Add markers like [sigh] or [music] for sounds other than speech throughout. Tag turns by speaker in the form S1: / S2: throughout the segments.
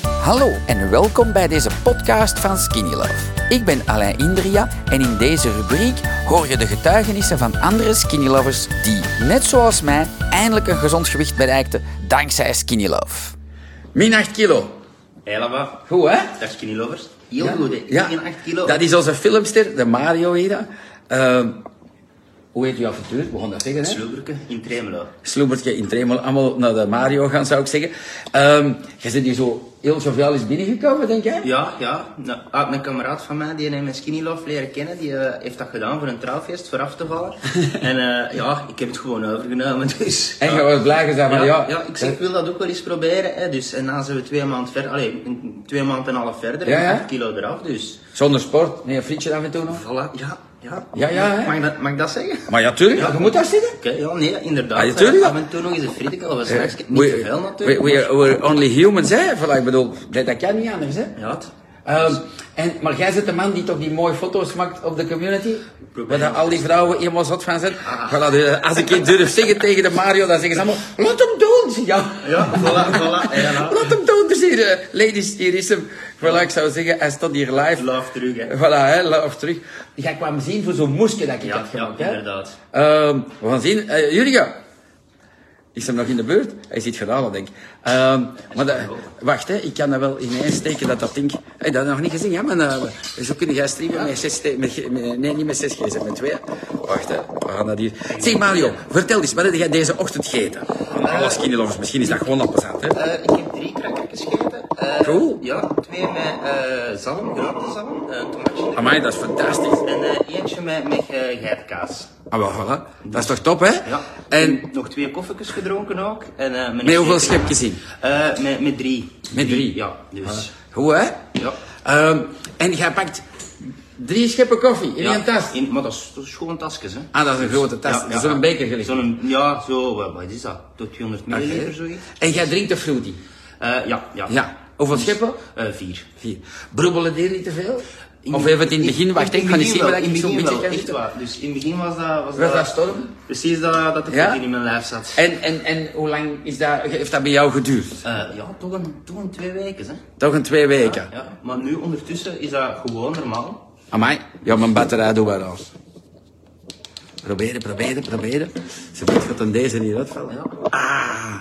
S1: Hallo en welkom bij deze podcast van Skinny Love. Ik ben Alain Indria en in deze rubriek hoor je de getuigenissen van andere Skinny Lovers die, net zoals mij, eindelijk een gezond gewicht bereikten dankzij Skinny Love. Min 8 kilo.
S2: Helemaal.
S1: Goed hè?
S2: Dag skinny lovers. Heel goed, hè.
S1: Ja.
S2: 1,8 kilo.
S1: Dat is onze filmster, de Mario hier. Ehm, hoe heet uw avontuur? We gaan dat zeggen hè?
S2: Zilberke in Tremelo.
S1: sloebertje in Tremel, allemaal naar de Mario gaan, zou ik zeggen. Ehm je zit hier zo heel joviaal is binnengekomen, denk jij?
S2: Ja, ja. Nou, ah, een kameraad van mij, die heeft mijn skinny love leren kennen, die eh, heeft dat gedaan voor een trouwfeest, voor af te [laughs] vallen. en eh, ja, ik heb het gewoon overgenomen, dus...
S1: En
S2: ja.
S1: je was blij gezegd,
S2: Ja,
S1: maar ja. Eh,
S2: ja, ik zeg, ik wil dat ook wel eens proberen. Hè. Dus, en dan zijn we twee maanden verder, allee, een- twee maanden en een half verder,
S1: Ja,
S2: en
S1: ja.
S2: acht kilo eraf, dus...
S1: Zonder sport, nee, een frietje af en toe nog.
S2: Voilà, ja, ja.
S1: Ja, ja, hè.
S2: Mag, ik dat, mag ik dat zeggen?
S1: Maar ja, tuurlijk, je moet daar zitten.
S2: Oké, ja, nee, inderdaad.
S1: Ah, natuurlijk,
S2: Eh,
S1: ja.
S2: Af en toe nog eens een frietje of een snackje. Niet te
S1: Eh, We,
S2: veel
S1: we,
S2: natuurlijk.
S1: we- we're only humans, hè? Voilà, ik bedoel, dat dat kan niet anders, hè?
S2: maar- Ja, het-
S1: Ehm, en, maar jij bent de man die toch die mooie foto's maakt op de community? Waar
S2: Probeer Ah.
S1: daar al die vrouwen helemaal zot van zijn. Voilà, dus als ik iets durf zeggen tegen de Mario, dan zeggen ze allemaal, laat hem doen! zie je."
S2: Ja, voilà, voilà. En dan
S1: Laat hem doen, dus hier, eh, ladies, hier is hem. Voilà, ik zou zeggen, hij staat hier live.
S2: love terug, hè.
S1: Voilà, hè, love terug. Jij kwam zien voor zo'n moesje dat ik
S2: Ja,
S1: had gemaakt,
S2: ja,
S1: hè.
S2: inderdaad.
S1: Ehm, we gaan zien. Eh, Jurgen, is hem nog in de buurt? Hij zit gedaan, denk ik. Ehm, maar dat- wacht, hè, ik kan dat wel ineens steken dat dat ding... Hey, dat nog niet gezien, ja, maar eh, zo kunnen jij streamen met zes... te- Met, ge- met- nee, niet met zes gsm, met twee. Wacht, hè, we gaan dat hier... Zeg, Mario, vertel eens, wat heb jij deze ochtend gegeten? Van alle skinnylovers, misschien is dat gewoon appelsant, hè?
S2: Eh, ik heb drie krakkertjes gegeten. Eh,
S1: Cool.
S2: Ja, twee met eh zalm, grote zalm, eh, tomaatje.
S1: Amai, dat is fantastisch.
S2: En eh, eentje met, met eh, geitkaas.
S1: Ah, wel, voilà. Dat is toch top, hè?
S2: Ja.
S1: En
S2: nog twee koffietjes gedronken ook. En, eh,
S1: met hoeveel schepjes in?
S2: met, met drie.
S1: Met drie?
S2: Ja, dus.
S1: Hoe, hè?
S2: Ja.
S1: Ehm, en jij pakt drie scheppen koffie in
S2: Ja,
S1: één tas.
S2: in- maar dat is, dat is gewoon tasjes, hè.
S1: Ah, dat is een grote tas.
S2: Ja,
S1: Dat is
S2: ja.
S1: een beker gelijk.
S2: Zo'n, ja, zo, eh, wat, wat is dat? Tot 200 milliliter, zoiets?
S1: En jij drinkt de fruity.
S2: Eh, ja, ja.
S1: Ja. Hoeveel scheppen?
S2: Eh, vier.
S1: Vier. Broebelen die niet te veel? Of even het in het begin, wacht, hè, ik ga niet zien
S2: wel,
S1: wat ik
S2: in het
S1: zo'n
S2: begin
S1: beetje
S2: wel,
S1: kan
S2: echt waar. Dus in het begin was dat... Was,
S1: dat storm?
S2: Precies dat, dat de
S1: Ja?
S2: ja? in mijn lijf zat.
S1: En, en, en hoe lang is dat, heeft dat bij jou geduurd?
S2: Eh, ja, toch een, toch een twee weken, hè.
S1: Toch een twee weken?
S2: Ja, maar nu ondertussen is dat gewoon normaal.
S1: Amai, ja, mijn batterij doet wel af. Proberen, proberen, proberen. Ze weet wat aan deze niet uitvallen.
S2: Ja.
S1: Ah!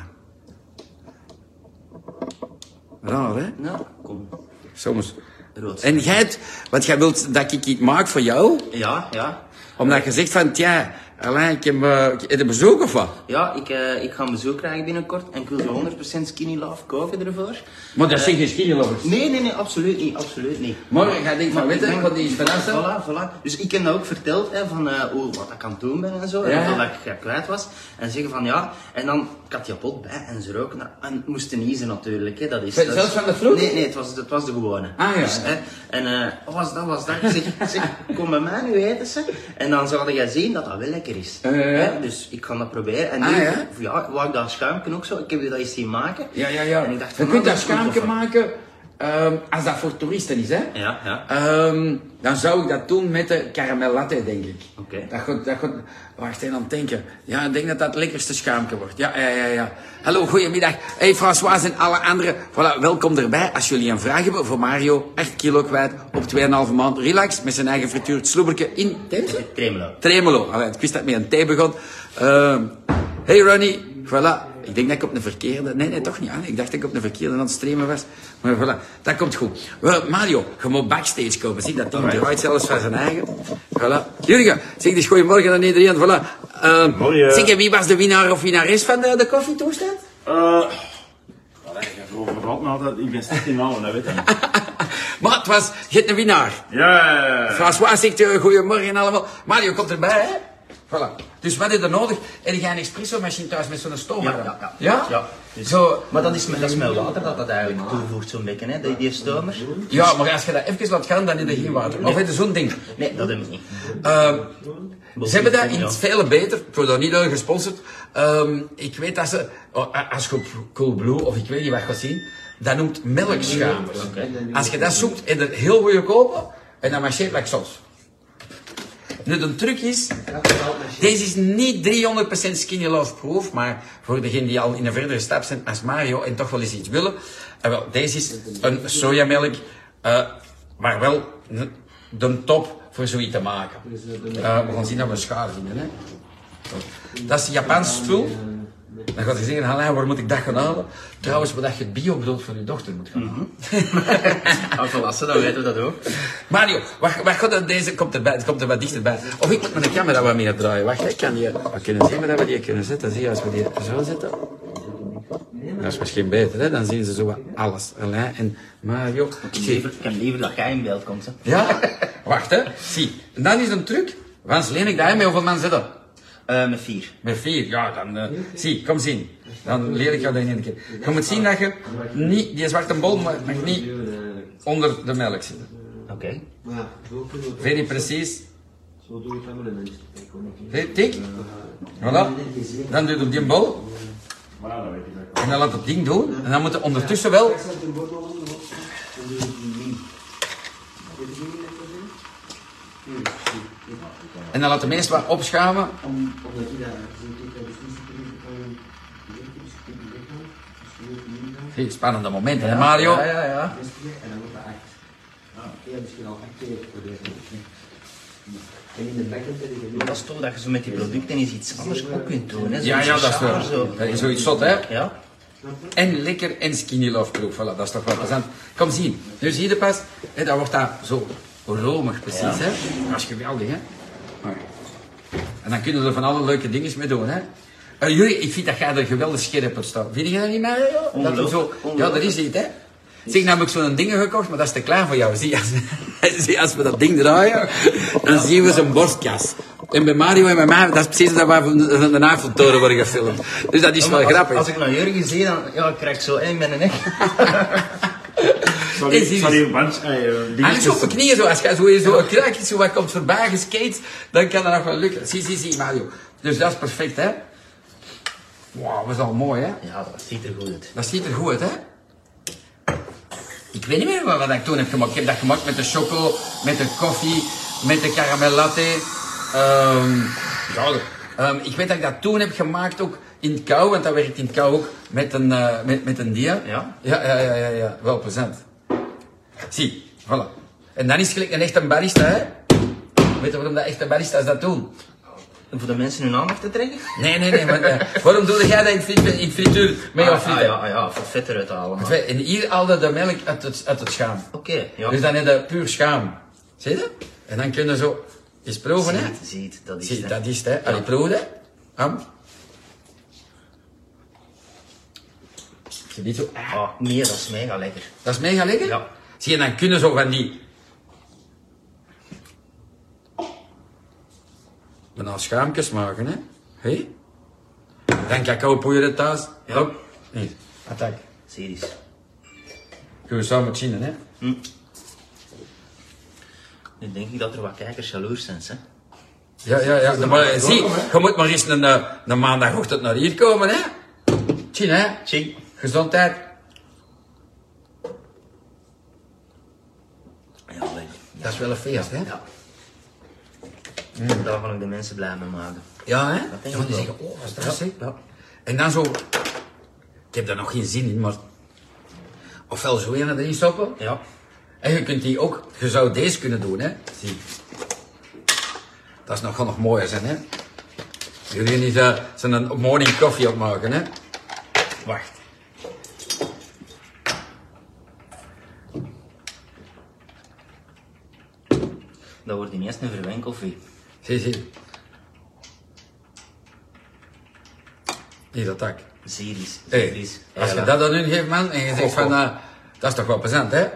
S1: Raar, hè?
S2: Nou, kom.
S1: Soms.
S2: Rood.
S1: En jij, het- want jij wilt dat ik iets maak voor jou,
S2: Ja, ja.
S1: omdat je zegt van, tja, Alain, ik heb, eh, ik heb een bezoek of wat?
S2: Ja, ik, eh, ik ga een bezoek krijgen binnenkort en ik wil zo 100% skinny love koken ervoor.
S1: Maar dat zijn geen skinnylovers.
S2: Nee, nee, nee, absoluut niet, absoluut niet.
S1: Morgen ga ik van
S2: Maar ik
S1: weten,
S2: denk-
S1: want die is verrassen.
S2: Voilà, voilà. Dus ik heb dat ook verteld, hè, van eh, hoe, wat ik aan het doen ben en zo.
S1: Ja.
S2: En hoeveel dat ik eh, kwijt was. En zeggen van ja, en dan, ik had die pot bij en ze roken. dat. En het moest niezen natuurlijk, hè. dat is...
S1: Zelfs
S2: dat is-
S1: van de vloer?
S2: Nee, nee, het was, het was de gewone.
S1: Ah, ja.
S2: Dus, hè, en eh, wat was dat, wat was dat. Ik zeg, zeg, kom bij mij nu eten ze. En dan zouden jij zien dat dat wel lekker is.
S1: Ja, ja, ja.
S2: Hè, Dus ik ga dat proberen. En nu,
S1: Ah, ja?
S2: ja, wou ik dat schuimken ook zo. Ik heb je dat eens zien maken.
S1: Ja, ja, ja.
S2: En ik dacht
S1: je
S2: van,
S1: kunt
S2: ah,
S1: nou, dat
S2: is goed,
S1: schaamke
S2: of-
S1: maken ehm, als dat voor toeristen is, hè?
S2: Ja, ja.
S1: Ehm, dan zou ik dat doen met de caramel latte, denk ik.
S2: Oké.
S1: Dat goed, dat goed. Wacht even aan het denken. Ja, ik denk dat dat het lekkerste schaamke wordt. Ja, ja, ja, ja. Hallo, goedemiddag. Hey, François en alle anderen. Voilà, welkom erbij. Als jullie een vraag hebben voor Mario, 8 kilo kwijt, op 2,5 maand relax, met zijn eigen frituurd sloeberke in Temse?
S2: Tremelo.
S1: Tremelo. Allee, ik wist dat Ah, het met een T begon. Ehm, hey Ronnie, voilà. Ik denk dat ik op een verkeerde... Nee, nee, toch niet. hè. Ik dacht dat ik op een verkeerde aan het streamen was. Maar voilà, dat komt goed. Wel, Mario, je moet backstage komen. Zie, dat ding draait zelfs van zijn eigen. Voilà. Jurgen, zeg dus goedemorgen aan iedereen. Voilà. Ehm,
S3: Morgen.
S1: Zeg, en wie was de winnaar of winnares van de, de koffietoestand? [laughs]
S3: Eh, allee, ik heb erover gehad, maar dat, ik ben slecht in namen, dat weet ik.
S1: maar het was, je hebt een winnaar.
S3: Ja,
S1: François zegt eh, goedemorgen allemaal. Mario komt erbij, hè? Voilà. Dus wat is er nodig? Heb jij een espresso-machine thuis met zo'n stoom?
S2: Ja, ja, ja.
S1: ja?
S2: Ja, dus-
S1: Zo,
S2: Maar dat is, met- dat is met water dat dat eigenlijk toevoegt zo'n beetje, hè, die, die stomer.
S1: ja, maar als je dat even laat gaan, dan is er geen water. Of heb je zo'n ding?
S2: Nee, dat heb ik niet.
S1: Ehm, ze hebben dat in
S2: Ja.
S1: het vele beter. Ik word daar niet door gesponsord. Ehm, ik weet dat ze, oh, a- als je op Coolblue of ik weet niet wat gaat zien, dat noemt melkschamers. Als je dat zoekt, en er heel goede kopen en dat marcheert like soms. Nu, de truc is, deze is niet 300% skinny love proof, maar voor degenen die al in een verdere stap zijn als Mario en toch wel eens iets willen, en wel, deze is een sojamelk, eh, maar wel n- de top voor zoiets te maken. Eh, we gaan zien dat we een schaar vinden. Hè. Zo. Dat is Japans spul. Dan gaat je zeggen, Alain, waar moet ik dat gaan halen? Trouwens, wat dat je bio bedoelt voor je dochter moet gaan halen. Ah,
S2: Als we lassen, dan weten we dat ook.
S1: Mario, wacht, wacht, God, deze komt erbij, het komt er wat dichterbij. Of ik moet mijn camera wat meer draaien. Wacht, ik kan die, we kunnen zien waar we die kunnen zetten. Zie je, als we die zo zetten. Dat is misschien beter, hè? dan zien ze zo wat alles. Alain en Mario. Zie,
S2: Ik heb liever dat jij in beeld komt. Hè.
S1: ja, wacht hè, zie. En dan is een truc, want leen ik daarmee hoeveel man zitten?
S2: Eh, met vier.
S1: Met vier, ja, dan eh, zie, kom zien. Dan leer ik jou dat in één keer. Je moet zien dat je niet, die zwarte bol mag mag niet onder de melk zitten.
S2: Oké.
S4: Maar zo kunnen we
S1: Very precies,
S4: het- zo doen we het met de mensen. Ik kom niet.
S1: Hey, Tik. Voilà. Dan doet op die bal.
S3: Maar dat weet ik wel.
S1: En dan laat het ding doen. En dan moet je ondertussen wel.
S4: Ik zet een bord onder de box. Dan doe ik die niet. Weet je niet wat ik bedoel?
S1: En dan laat de mensen wat opschuiven.
S4: Om- Omdat je daar zit, ik heb dus niet gekregen van een directe, dus ik heb die weggehaald. Dus die wordt niet gedaan.
S1: Hey, Spannende momenten, hè, Mario?
S2: Ja, ja, ja.
S4: Best keer en dan wordt dat acht. Ja, misschien al acht keer voor deze. En in de bakken ben ik er nu.
S2: Maar dat is tof dat je zo met die producten eens iets anders ook kunt doen. Hè. Zo
S1: Ja, ja, dat is
S2: socialer,
S1: wel.
S2: zo.
S1: Dat is zoiets zot, hè?
S2: Ja.
S1: En lekker en skinny love proof. Voilà, dat is toch wel plezant. Kom zien. Nu zie je pas. Hè, dat wordt dat zo romig, precies, hè? Dat is geweldig, hè? Maar- En dan kunnen we er van alle leuke dingen mee doen, hè? Eh, jullie, ik vind dat jij er geweldig scherp op staat. Vind je dat niet, Mario? Dat je zo... Ja, dat is het, hè? Zeg, nou heb ik zo'n ding gekocht, maar dat is te klein voor jou. [laughs] Zie, als, zie, als we dat ding draaien, dan zien we zijn borstkas. En bij Mario en bij mij, dat is precies dat wij van de, van de Eiffeltoren worden gefilmd. Dus dat is wel
S2: Als-
S1: grappig.
S2: Als ik naar Jurgen zie, dan ja, ik krijg ik zo één met een echt.
S1: Is
S3: Sorry,
S1: hier-
S3: sorry, want... eh, die
S1: Alles
S3: is-
S1: op de knieën, zo. Als je zo, zo een kraakje zo wat komt voorbij geskate, dan kan dat nog wel lukken. Zie, zie, zie, Mario. Dus dat is perfect, hè? Wauw, dat is al mooi, hè?
S2: Ja, dat ziet er goed uit.
S1: Dat ziet er goed uit, hè? Ik weet niet meer wat, wat ik toen heb gemaakt. Ik heb dat gemaakt met de choco, met de koffie, met de caramel latte. Ehm, ja, ehm, ik weet dat ik dat toen heb gemaakt ook in het kou, want dat werkt in het kou ook met een, eh, met, met een dia.
S2: Ja?
S1: Ja, ja, ja, ja, ja. wel plezant. Zie, voilà. En dan is het gelijk een echte barista, hè? Weet je waarom dat echte baristas dat doen?
S2: En voor de mensen hun aandacht te trekken?
S1: Nee, nee, nee, maar
S2: [laughs]
S1: eh, waarom doe jij dat in, frit- in frituur met jouw
S2: ah, ah,
S1: frieten?
S2: ja, ah, ja, voor vet eruit te halen. maar-
S1: Want wij- En hier haalde de melk uit het, uit het schaam.
S2: Oké, ja.
S1: Dus dan heb je puur schaam. Zie je? En dan kunnen ze zo eens proeven, hè?
S2: ziet, ziet, dat is
S1: Zie,
S2: het, hè.
S1: dat is het, hè? Allee, proef het, hè? Am. Zie je zo?
S2: Ah, nee, dat is mega lekker.
S1: Dat is mega lekker.
S2: Ja.
S1: Zie je, dan kunnen zo van die... Bijna schaamjes maken, hè? Hé? Dan cacao poeieren thuis.
S2: Ja.
S1: Ook. Nee. Attack.
S2: Serieus.
S1: Kunnen we samen zien, hè?
S2: Nu denk ik dat er wat kijkers jaloers zijn, hè.
S1: Ja, ja, ja. Maar eh, zie, je moet maar eens een, eh, een maandagochtend naar hier komen, hè? Tien, hè?
S2: Tjie.
S1: Gezondheid.
S2: Ja, leuk.
S1: Dat is wel een feest, hè?
S2: Ja. Mm. Daar kan ik de mensen blij mee maken.
S1: Ja, hè?
S2: denk
S1: Ja,
S2: ik
S1: die
S2: wel.
S1: zeggen, oh, wat is dat, hè? Ja. En dan zo... Ik heb daar nog geen zin in, maar... Ofwel zo een erin stoppen.
S2: Ja.
S1: En je kunt die ook... Je zou deze kunnen doen, hè? Zie. Dat is nog wel nog mooier zijn, hè? Jullie niet eh, zijn een morning coffee opmaken, hè? Wacht.
S2: Dat wordt ineens een verwenkoffie.
S1: Zie, zie. Hier, dat tak.
S2: Series.
S1: Hey,
S2: Series.
S1: als je dat aan hun geeft, man, en je zegt van, eh, dat is toch wel plezant, hè?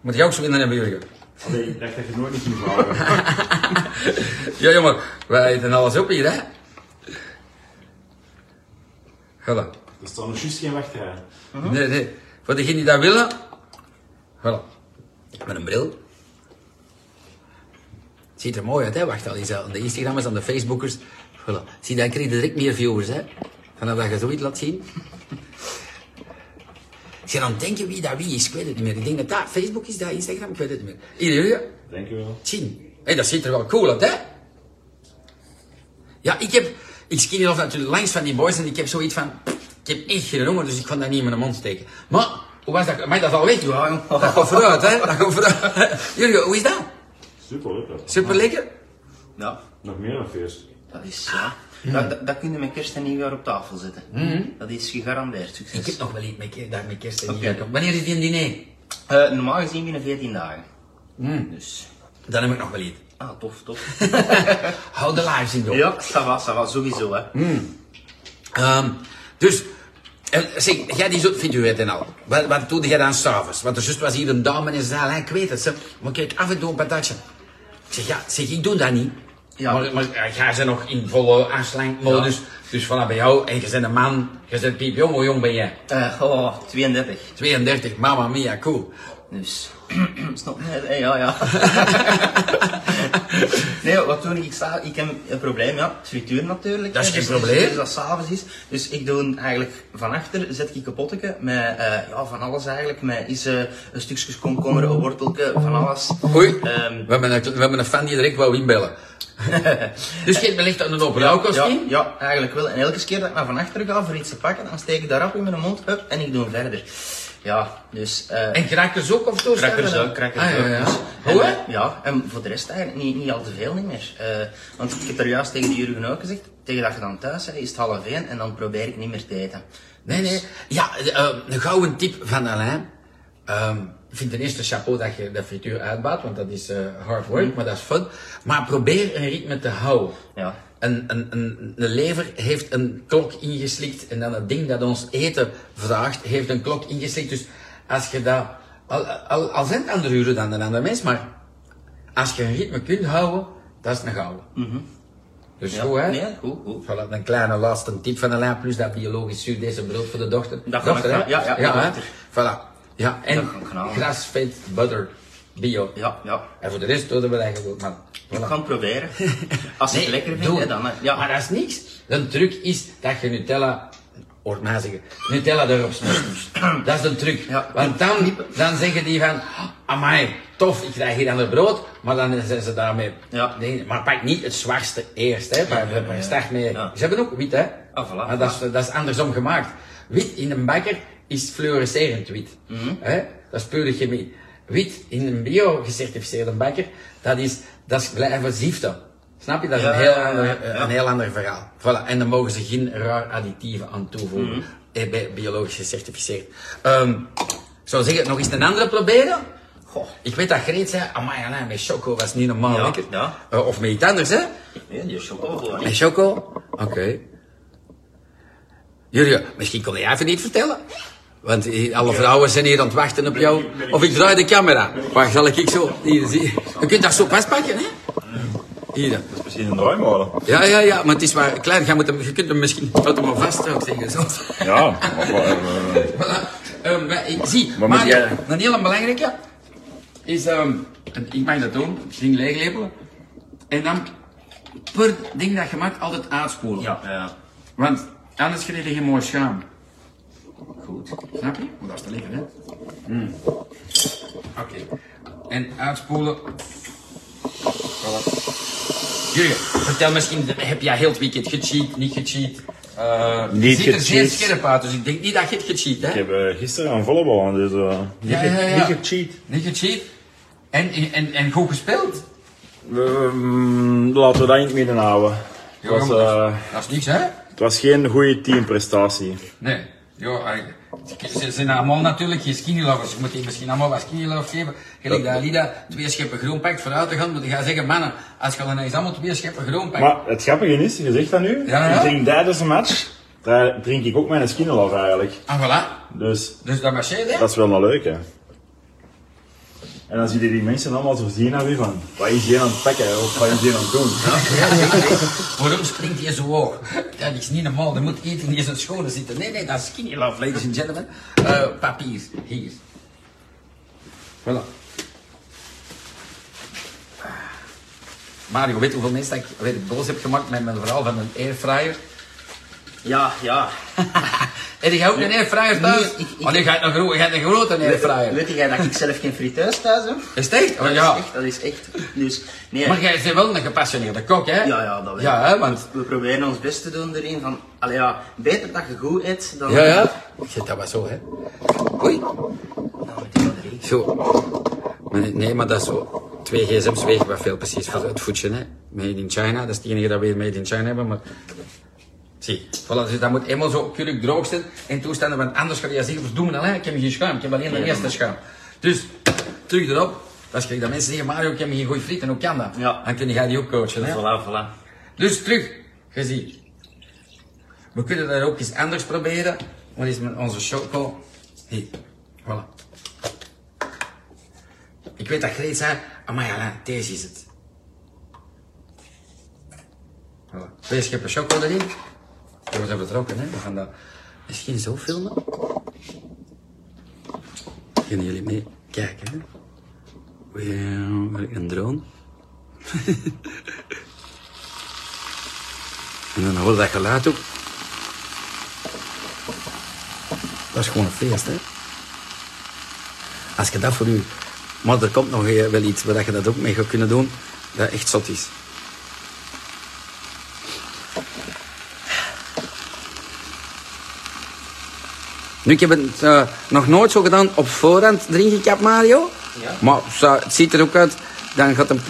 S1: Moet je ook zo in hebben, Jurgen?
S3: Allee, Ik dacht dat je nooit niet ging houden.
S1: Ja, jongen, wij eten alles op hier, hè? Voilà.
S3: Er staat nog Dus juist geen wachtrij.
S1: Nee, nee. Voor degenen die dat willen, voilà. Met een bril. Ziet er mooi uit, hè? Wacht al eens aan de Instagrammers, aan de Facebookers. Voilà. Zie, dan krijg je direct meer viewers, hè? Vanaf dat je zoiets laat zien. Ik zit aan het denken wie dat wie is, ik weet het niet meer. Ik denk dat dat Facebook is, dat Instagram, ik weet het niet meer. Hier, hier,
S3: Dank je wel.
S1: zien. Hé, dat ziet er wel cool uit, hè? Ja, ik heb... Ik skinny love natuurlijk langs van die boys en ik heb zoiets van... Ik heb echt geen honger, dus ik kan dat niet in mijn mond steken. Maar, hoe was dat? Maar dat is al weg, joh. Dat [laughs] gaat vooruit, hè? Dat gaat vooruit. [laughs] Jullie, hoe is dat?
S3: Super lekker.
S1: Super lekker?
S2: Ja,
S3: Nog meer dan feest.
S2: dat is... Ja.
S1: Mm.
S2: Dat, dat, dat kun je met kerst en nieuwjaar op tafel zetten. Dat is gegarandeerd succes.
S1: Ik heb nog wel iets met, ke- daar met kerst en
S2: Oké.
S1: nieuwjaar. Wanneer is die een diner?
S2: Eh, normaal gezien binnen 14 dagen.
S1: Mm. [laughs]
S2: Dus...
S1: Dan heb ik nog wel iets.
S2: Ah, tof, tof.
S1: Hou de live zien, joh.
S2: ja, ça va, ça va, sowieso, hè.
S1: Mm. Ehm, dus, en zeg, jij die zo, vindt u het en al. Wat, wat doe jij dan s'avonds? Want er juist was hier een dame en ze zei, "Alain, ik weet het, ze, maar kijk af en toe een patatje. Ik zeg, ja, zeg, ik doe dat niet.
S2: Ja.
S1: Maar, maar eh, jij bent nog in volle aanslangmodus. Dus voilà, bij jou, en je bent een man, je bent piepjong, hoe jong ben jij?
S2: Eh, oh, 32.
S1: 32, mama mia, cool.
S2: Dus, [clears throat] snap je? Eh, ja, ja. [laughs] nee, wat toen ik sta, ik heb een probleem, ja, frituur natuurlijk.
S1: Dat is
S2: hè,
S1: geen
S2: dus-
S1: probleem.
S2: Dus, dus dat s'avonds is. Dus ik doe eigenlijk van achter, zet ik een potje met, eh, ja, van alles eigenlijk. Met is, eh, een stukje komkommer, een wortelke, van alles.
S1: Oei,
S2: Ehm,
S1: we, hebben een, we hebben een fan die direct wou
S2: [laughs]
S1: inbellen. dus je belegt aan een open ja,
S2: ja, ja, eigenlijk wel. En elke keer dat ik naar van achter ga voor iets te pakken, dan steek ik daar rap in mijn mond, hup, en ik doe verder. Ja, dus... eh,
S1: En krakers ook of zo?
S2: Crackers
S1: staan er
S2: ook,
S1: dan?
S2: crackers
S1: Ah,
S2: ook.
S1: ja, ja.
S2: Dus-
S1: Hoe,
S2: en,
S1: hè?
S2: eh, ja, en voor de rest eigenlijk niet, niet al te veel niet meer. Eh, want ik heb er juist tegen de Jurgen ook gezegd, tegen dat je dan thuis bent, is het half één en dan probeer ik niet meer te eten.
S1: Nee,
S2: Dus-
S1: nee. Ja, de, eh, de gouden tip van Alain. Ehm, ik vind ten eerste chapeau dat je de frituur uitbaat, want dat is eh, hard work,
S2: Mm.
S1: maar dat is fun. Maar probeer een ritme te houden.
S2: Ja.
S1: Een, een, een, de lever heeft een klok ingeslikt en dan het ding dat ons eten vraagt, heeft een klok ingeslikt. Dus als je dat, al, al, al zijn het andere uren dan een ander mens, maar als je een ritme kunt houden, dat is een gouden. Dus
S2: Mhm. Ja.
S1: goed, hè?
S2: Nee, goed, goed.
S1: Voilà, een kleine laatste tip van Alain, plus dat biologisch zuur deze brood voor de dochter.
S2: Dat kan
S1: dochter,
S2: ik,
S1: hè?
S2: ja, ja,
S1: ja
S2: ja,
S1: hè?
S2: dochter.
S1: Voilà. Ja, en
S2: Dat kan ik halen.
S1: grass-fed butter, bio.
S2: Ja, ja.
S1: En voor de rest doen we dat gewoon, man. Voilà.
S2: Ik ga het
S1: [laughs]
S2: proberen. Als je het lekker vindt,
S1: doe
S2: hè,
S1: het.
S2: dan. hè.
S1: Maar
S2: Ja.
S1: dat is niks. De truc is dat je Nutella, hoort mij zeggen, Nutella erop smelt. dat is de truc.
S2: Ja.
S1: Want dan, dan zeggen die van, amai, tof, ik krijg hier dan het brood, maar dan zijn ze daarmee.
S2: Ja.
S1: Nee, maar pak niet het zwartste eerst, hè. Maar we- we start mee.
S2: Ja.
S1: Ze hebben ook wit, hè.
S2: Ah, voilà.
S1: Maar dat is, dat is andersom gemaakt. Wit in een bakker is fluorescerend wit.
S2: Mhm.
S1: hè? Dat is pure chemie. Wit in een bio-gecertificeerde bakker, dat is, dat is blijven ziefte. Snap je? Dat is
S2: Ja,
S1: een, heel
S2: ja, ja,
S1: ander,
S2: ja.
S1: een heel ander verhaal. Voilà. En daar mogen ze geen raar additieven aan toevoegen.
S2: Mhm.
S1: Eh, Bij biologisch gecertificeerd. Ehm ik zou zeggen, nog eens een andere proberen?
S2: Goh.
S1: Ik weet dat Greet zei, amai, Alain, met choco was niet normaal
S2: Ja,
S1: lekker.
S2: ja. Oh,
S1: Eh, of met iets anders, hè?
S2: Nee, die chocola.
S1: Met choco? Oké. Jullie, misschien kon jij even niet vertellen? Want eh, alle vrouwen zijn hier aan het wachten op jou. Of ik draai de camera. Waar zal ik ik zo? Hier, zie. Je kunt dat zo vastpakken, hè? Hier dan.
S3: Dat is misschien een draaimolen.
S1: Ja, ja, ja, maar het is maar klein. Je, moet hem, je kunt hem misschien houd hem maar vast ook tegen. Zo.
S3: Ja, maar, maar, eh, eh,
S1: Voilà. Ehm, maar ik zie,
S3: maar
S1: maar,
S3: moet jij-
S1: een hele belangrijke is, ehm, en ik mag dat doen, het ding leeglepelen. En dan per ding dat je maakt altijd uitspoelen.
S2: Ja, ja.
S1: Want anders krijg je geen mooi schaam.
S2: Goed.
S1: Snap je? Maar dat is te lekker, hè? Mm. Oké. En uitspoelen. Voilà. Jurgen, vertel misschien, heb jij heel het weekend gecheat, niet gecheat? Eh
S3: Niet
S1: je ziet er zeer
S3: gecheat.
S1: scherp uit, dus ik denk niet dat je het gecheat,
S3: ik
S1: hè?
S3: heb eh, gisteren aan volleybal aan, dus eh, niet,
S1: Ja, ja,
S3: ge-
S1: ja.
S3: niet gecheat.
S1: Niet gecheat? En, en, en goed gespeeld?
S3: Ehm, laten we dat in het midden houden. Het
S1: Ja, maar
S3: was,
S1: dat,
S3: eh,
S1: is, dat is niks, hè?
S3: het was geen goede teamprestatie.
S1: Nee. Jo, eigenlijk. ze zijn allemaal natuurlijk geen skinny lovers. Je moet die misschien allemaal wat skinny love geven. Gelijk dat Alida twee scheppen groen pakt vooruit te gaan, moet je gaan zeggen, mannen, als je dan eens allemaal twee scheppen groen pakt.
S3: Maar het grappige is, je zegt dat nu,
S1: Ja, ja.
S3: ik drink tijdens een match, daar drink ik ook mijn skinelaf eigenlijk.
S1: Ah, voilà.
S3: Dus
S1: Dus dat marcheert, hè?
S3: dat is wel een leuke. En dan zie je die mensen allemaal zo zien naar u van, wat is die aan het pakken of wat is die aan het doen?
S1: [laughs] Waarom springt hij zo hoog? Dat is niet normaal, er moet eten in zijn schoenen zitten. Nee, nee, dat is skinny love, ladies and gentlemen. Eh, papier, hier. Voilà. Mario, weet hoeveel mensen dat ik weer boos heb gemaakt met mijn verhaal van een airfryer?
S2: Ja, ja.
S1: Heb jij ook een airfryer thuis?
S2: Nee, ik- ik-
S1: Wanneer ga je een grote, je hebt een grote airfryer.
S2: Weet jij dat ik zelf geen friteus thuis heb?
S1: Is het echt?
S2: Dat
S1: Oh,
S2: is
S1: ja.
S2: echt, dat is echt. Dus, nee.
S1: Maar jij bent wel een gepassioneerde kok, hè?
S2: Ja, ja, dat wel.
S1: Ja, hè, want...
S2: We proberen ons best te doen erin van, allee ja, beter dat je goed eet dan...
S1: Ja, ja. Zit dat maar zo, hè? Oei.
S2: Dan moet je dat erin.
S1: Zo. Maar nee, nee, maar dat is zo. Twee gsm's wegen wat veel precies voor het voetje, hè. Made in China, dat is het enige dat we hier made in China hebben, maar... Zie, voilà, dus dat moet eenmaal zo keurig droog zijn en toestanden, want anders ga je zeggen, verdoemen al, hè. Ik heb geen schuim, ik heb alleen de eerste schuim. Dus, terug erop. Als ik dat mensen zeggen, Mario, ik heb geen goeie frieten, hoe kan dat?
S2: Ja.
S1: Dan kun jij die ook coachen, hè.
S2: Voilà, voilà.
S1: Dus terug, gezien. We kunnen dat ook eens anders proberen. Wat is met onze choco? Hier, voilà. Ik weet dat Greet zei, amai Alain, deze is het. Voilà. Twee scheppen choco erin. Die wordt vertrokken, hè. We gaan dat misschien zo filmen. Kunnen jullie mee kijken, hè? Weer een drone. En dan hoor je dat geluid ook. Dat is gewoon een feest, hè? Als je dat voor u. Maar er komt nog eh, wel iets waar dat je dat ook mee gaat kunnen doen, dat echt zot is. Nu, ik heb het eh, nog nooit zo gedaan op voorhand erin gekapt, Mario.
S2: Ja.
S1: Maar zo, het ziet er ook uit, dan gaat een...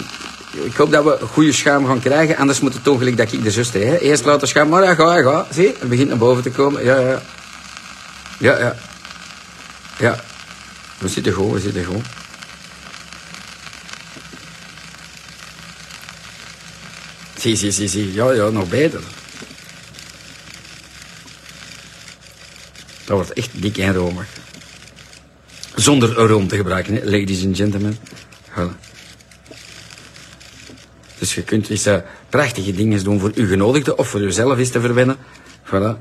S1: Ik hoop dat we een goede schuim gaan krijgen, anders moet het toch gelijk dat ik de zuster hè. Eerst laten schuim, maar ja, ga, ja, ga. Zie, het begint naar boven te komen. Ja, ja. Ja, ja. Ja. We zitten goed, we zitten goed. Zie, zie, zie, zie. Ja, ja, nog beter. Dat wordt echt dik en romig. Zonder room te gebruiken, hè, ladies and gentlemen. Voilà. Dus je kunt eens eh, prachtige dingen doen voor uw genodigden of voor uzelf eens te verwennen. Voilà.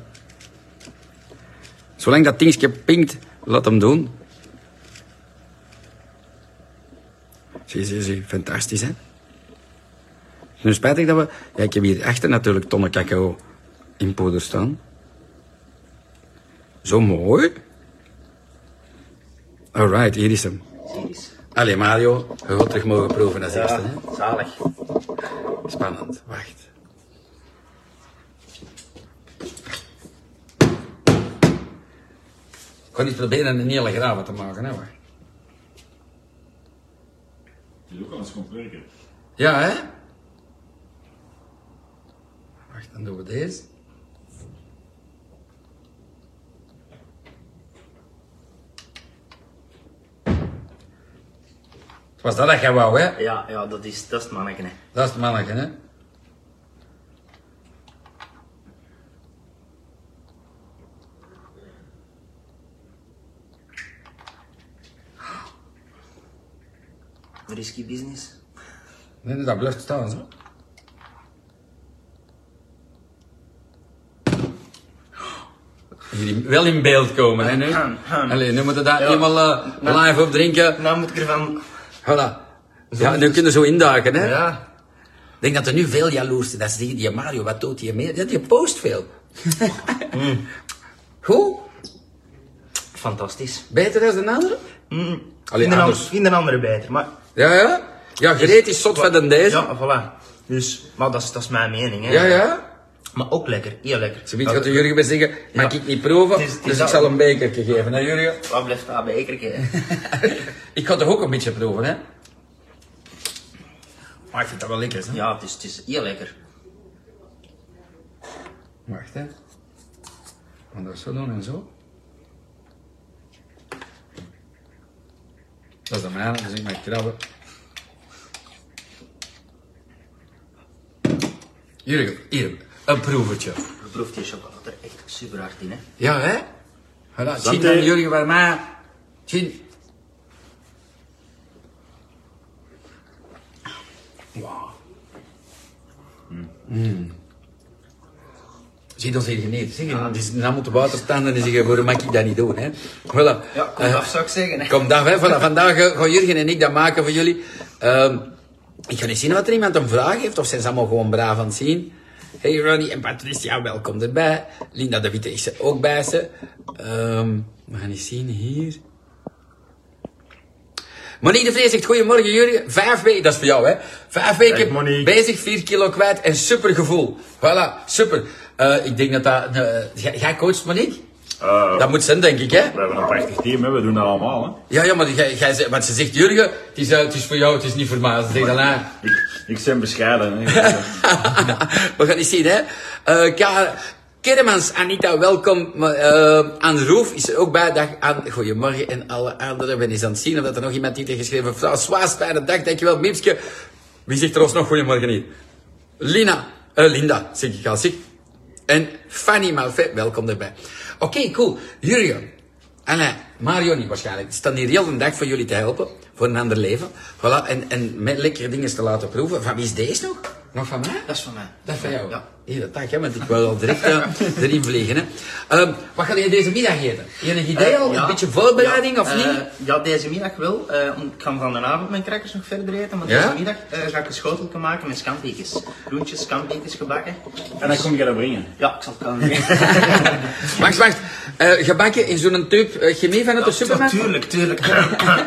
S1: Zolang dat dingetje pinkt, laat hem doen. Zie, zie, zie. Fantastisch, hè? Nu spijtig dat we... Ja, ik heb hier achter natuurlijk tonnen cacao in poeder staan. Zo mooi. Alright, hier is hem.
S2: Hier is.
S1: Allee, Mario, je gaat terug mogen proeven als eerste, hè?
S2: zalig.
S1: Spannend, wacht. Ik ga niet proberen een hele graven te maken, hè? wacht.
S3: Die is ook al eens komt werken.
S1: Ja, hè? Wacht, dan doen we deze. Het was dat dat jij wou, hè?
S2: Ja, ja, dat is, dat is het manneken, hè.
S1: Dat is het mannetje, hè?
S2: Risky business.
S1: Nee, nee, dat blijft staan, zo. Jullie wel in beeld komen, hè, nu?
S2: Ahem, ahem.
S1: Allee, nu moeten we dat
S2: Ja.
S1: eenmaal eh, live opdrinken.
S2: Nou moet ik ervan...
S1: Voilà. Ja, nu kunnen ze zo induiken, hè?
S2: Ja.
S1: Ik denk dat er nu veel jaloers zijn. Dat ze zeggen, die Mario, wat doet hij meer? Ja, die post [laughs] veel. Hmm. Goed?
S2: Fantastisch.
S1: Beter dan de andere?
S2: Mm.
S1: Allee,
S2: in, de
S1: anders.
S2: an- in de andere beter, maar...
S1: Ja, ja. Ja, Greet is zot van dan deze.
S2: Ja, voilà. Dus, maar dat is, dat is mijn mening, hè.
S1: Ja, ja.
S2: Maar ook lekker, heel lekker.
S1: Ze weet gaat de Jurgen weer zeggen, mag ik niet proeven?
S2: Het is- het is
S1: dus ik
S2: dat-
S1: zal een bekertje geven, hè Jurgen?
S2: Wat blijft dat bij hè?
S1: ik ga toch ook een beetje proeven, hè? Maar ik vind dat wel lekker, hè?
S2: Ja, het is, het is heel lekker.
S1: Wacht, hè. Want dat zo doen en zo. Dat is de mijne, dus ik mag krabben. Jurgen, hier, een proevertje.
S2: Je proeft die chocolade er echt super hard in, hè.
S1: Ja, hè? Voilà, zien
S3: Santé.
S1: dan Jurgen bij mij. Zien. Wauw.
S2: Hmm.
S1: Mm. Ziet ons hier genieten. Zeg,
S2: Ah.
S1: en die dan moeten buiten staan en die zeggen, waarom mag ik dat niet doen, hè? Voilà.
S2: Ja, kom
S1: Eh,
S2: af, zou ik zeggen, hè.
S1: Kom dag, hè. Voilà, vandaag eh, gaan Jurgen en ik dat maken voor jullie. Ehm, ik ga eens zien wat er iemand hem vraag heeft, of zijn ze allemaal gewoon braaf aan het zien. Hey Ronnie en Patricia, welkom erbij. Linda de Witte is er ook bij ze. Ehm, we gaan eens zien hier. Monique de Vries zegt, goedemorgen jullie. Vijf weken, dat is voor jou hè. Vijf weken
S3: Monique.
S1: bezig, vier kilo kwijt en super gevoel. Voilà, super. Eh, ik denk dat dat... eh, jij- jij coacht Monique?
S3: Eh,
S1: Dat moet zijn denk ik hè.
S3: We hebben een prachtig team, hè. we doen dat allemaal. Hè.
S1: Ja, ja, maar jij, jij zegt- want ze zegt, Jurgen, het is, eh, het is voor jou, het is niet voor mij. Ze zegt dan, ah.
S3: Ik, ik ben bescheiden. Hè.
S1: [laughs] We gaan eens zien, hè. Eh, Ka- Kermans, Anita, welkom. Maar, eh, Anne Roef is er ook bij. Dag Anne, goedemorgen en alle anderen. We zijn eens aan het zien of dat er nog iemand niet heeft geschreven. François, fijne dag, dankjewel. Miepske, wie zegt er ons nog goedemorgen hier? Lina, eh, Linda, zeg ik al, zeg. En Fanny Malvet, welkom erbij. Oké, cool. Jurgen, Alain, Mario niet waarschijnlijk. Ik sta hier heel de dag voor jullie te helpen. Voor een ander leven. Voilà. En, en met lekkere dingen te laten proeven. Van wie is deze nog? Nog van mij?
S2: Dat is van mij.
S1: Dat van jou?
S2: Ja.
S1: Hier, dat dag, hè, want ik wil al direct
S2: [laughs]
S1: eh, erin vliegen. Hè. Ehm, wat ga je deze middag eten? Enig idee al?
S2: Eh, Ja.
S1: Een beetje voorbereiding
S2: Ja,
S1: of
S2: eh,
S1: niet?
S2: ja, deze middag wel. Eh, om- ik ga vanavond mijn crackers nog verder eten, maar
S1: Ja?
S2: deze middag eh, ga ik een schotelke maken met skampiekjes. Groentjes, skampiekjes gebakken.
S3: En dan kom je dat brengen.
S2: Ja, ik zal
S1: [laughs]
S2: het komen.
S1: Wacht, wacht. Eh, gebakken in zo'n tub eh, chemie vanuit de supermarkt?
S2: Tuurlijk, tuurlijk. [laughs]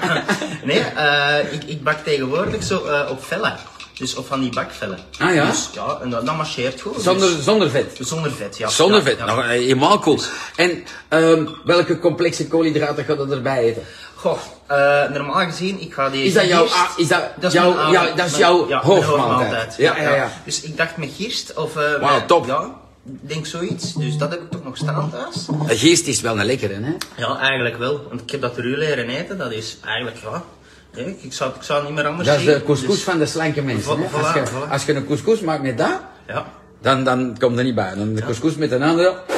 S2: nee, eh, ik, ik bak tegenwoordig zo eh, op vellen. Dus op van die bakvellen.
S1: Ah, ja?
S2: Dus ja, en dat, dat marcheert goed.
S1: Zonder, zonder vet?
S2: dus- zonder vet, ja.
S1: Zonder
S2: Ja,
S1: vet,
S2: ja.
S1: nou eh, helemaal cool. En ehm, welke complexe koolhydraten gaat er erbij eten?
S2: Goh, eh, normaal gezien, ik ga die...
S1: Is dat jouw
S2: gist-
S1: a- is dat
S2: mijn
S1: jouw-
S2: avond-
S1: ja, dat is
S2: mijn-
S1: jouw
S2: ja, mijn
S1: hoofdmaaltijd.
S2: Ja,
S1: Ja, ja, ja.
S2: Dus ik dacht met gist of... eh
S1: Wauw,
S2: met-
S1: top.
S2: Ja, ik denk zoiets. Dus dat heb ik toch nog staan thuis.
S1: Eh, Geest is wel een lekkere, hè?
S2: Ja, eigenlijk wel. Want ik heb dat door u leren eten. Dat is eigenlijk, ja... nee, Ik zou, ik zou het niet meer anders
S1: Dat is
S2: zien.
S1: de couscous
S2: Dus-
S1: van de slanke mensen.
S2: Vo-
S1: hè.
S2: voilà,
S1: als, je,
S2: voilà.
S1: als je een couscous maakt met dat,
S2: Ja,
S1: dan, dan komt er niet bij. Dan de couscous met een andere.
S2: voilà.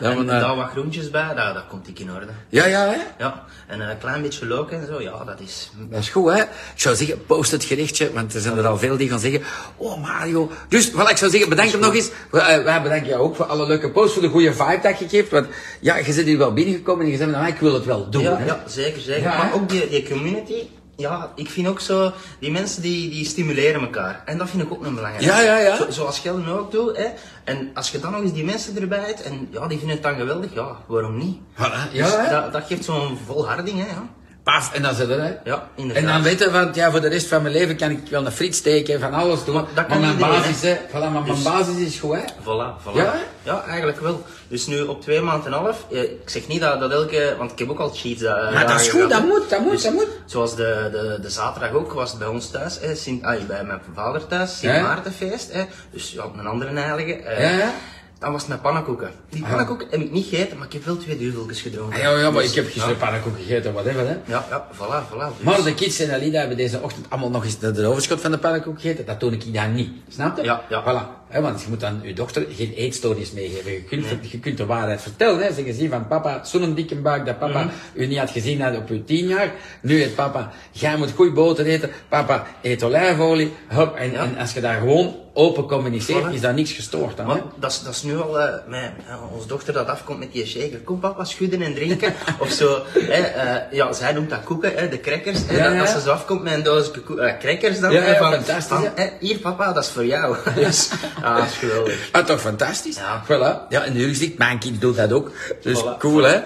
S1: Ja,
S2: en
S1: maar, eh,
S2: daar wat groentjes bij, dat, dat komt ik in orde.
S1: Ja, ja, hè?
S2: Ja, en een klein beetje look en zo, ja, dat is...
S1: Dat is goed, hè? Ik zou zeggen, post het gerechtje, want er zijn er al veel die gaan zeggen, oh Mario. Dus, voilà, ik zou zeggen, bedank hem nog eens. We- eh, Wij bedanken jou ook voor alle leuke posts, voor de goede vibe dat je geeft. Want ja, je zit hier wel binnengekomen en je zegt, nou, ik wil het wel doen.
S2: Ja,
S1: hè.
S2: ja zeker, zeker.
S1: Ja,
S2: maar
S1: hè?
S2: ook die, die community, ja, ik vind ook zo, die mensen die, die stimuleren elkaar. En dat vind ik ook een belangrijk.
S1: Ja, ja, ja.
S2: Zo- zoals jij nu ook doet, hè. En als je dan nog eens die mensen erbij hebt, en ja, die vinden het dan geweldig, ja, waarom niet?
S1: Voilà,
S2: Dus
S1: ja, hè?
S2: dat, dat geeft zo'n volharding, hè, ja.
S1: Paf, en dan zit er, hè?
S2: Ja, inderdaad.
S1: En dan weten, want ja, voor de rest van mijn leven kan ik wel een friet steken, van alles doen. Maar,
S2: Maar dat kan
S1: mijn
S2: iedereen,
S1: basis,
S2: hè?
S1: hè? Voilà, maar mijn
S2: Dus-
S1: basis is goed, hè?
S2: Voilà, voilà.
S1: Ja, hè?
S2: ja, eigenlijk wel. Dus nu op twee maanden en een half, eh, ik zeg niet dat, dat elke, want ik heb ook al cheats. eh,
S1: Maar dat is goed,
S2: dagen gehad,
S1: dat
S2: hè. Dus
S1: moet, dat moet, dat moet.
S2: Zoals de, de, de zaterdag ook was het bij ons thuis, hè, Sint, ai, bij mijn vader thuis, Sint
S1: Ja.
S2: Maartenfeest. Hè, dus ja, een andere heilige. eh,
S1: Ja, ja.
S2: Dan was het met pannenkoeken. Die pannenkoeken heb ik niet gegeten, maar ik heb wel twee duveltjes gedronken.
S1: Ah, ja, ja, maar
S2: Dus,
S1: ik heb gisteren pannenkoeken gegeten, whatever, hè?
S2: Ja, ja, voilà, voilà. Dus-
S1: Maar de kids en Alida hebben deze ochtend allemaal nog eens de, de overschot van de pannenkoek gegeten. Dat doe ik dan niet. Snap je?
S2: Ja, ja.
S1: Voilà. Hè, want je moet aan je dochter geen eetstories meegeven. Je kunt, je kunt de waarheid vertellen. Hè. Zeggen ze van papa, zo'n dikke buik dat
S2: Mhm.
S1: papa u niet had gezien had op uw tien jaar. Nu heeft papa, jij moet goeie boter eten. Papa eet olijfolie. Hup. En, en als je daar gewoon open communiceert,
S2: Voilà.
S1: is daar niks gestoord aan. Hè?
S2: Maar dat is, dat is nu al, eh mijn, eh, onze dochter dat afkomt met die shaker. Kom papa, schudden en
S1: [laughs]
S2: drinken. of zo. Hè, eh, ja, zij noemt dat koeken, hè, de crackers. Hè,
S1: Ja,
S2: dat,
S1: ja.
S2: dat ze zo afkomt met een doos koe- eh, crackers dan.
S1: Ja,
S2: hè,
S1: ja,
S2: van,
S1: fantastisch,
S2: van,
S1: hè.
S2: hè, hier papa, dat is voor jou. dus, [laughs] ah, dat is geweldig.
S1: Ah, toch fantastisch.
S2: Ja.
S1: Voilà. Ja, en jullie ziet, mijn kind doet dat ook. Dus
S2: Voilà.
S1: cool, hè?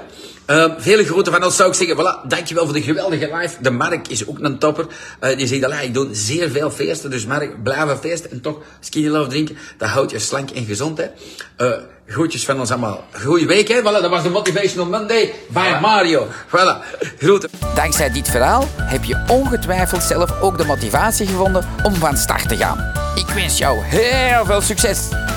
S1: Ehm, vele groeten van ons zou ik zeggen. Voilà, dankjewel voor de geweldige live. De Mark is ook een topper. Eh, die zegt, "Allee, ik doe zeer veel feesten. Dus Mark, blijven feesten en toch skinny love drinken. Dat houdt je slank en gezond, hè. Eh groetjes van ons allemaal. Goeie week, hè. Voilà, dat was de Motivational Monday bij Mario. Voilà, groeten.
S5: Dankzij dit verhaal heb je ongetwijfeld zelf ook de motivatie gevonden om van start te gaan. Ik wens jou heel veel succes!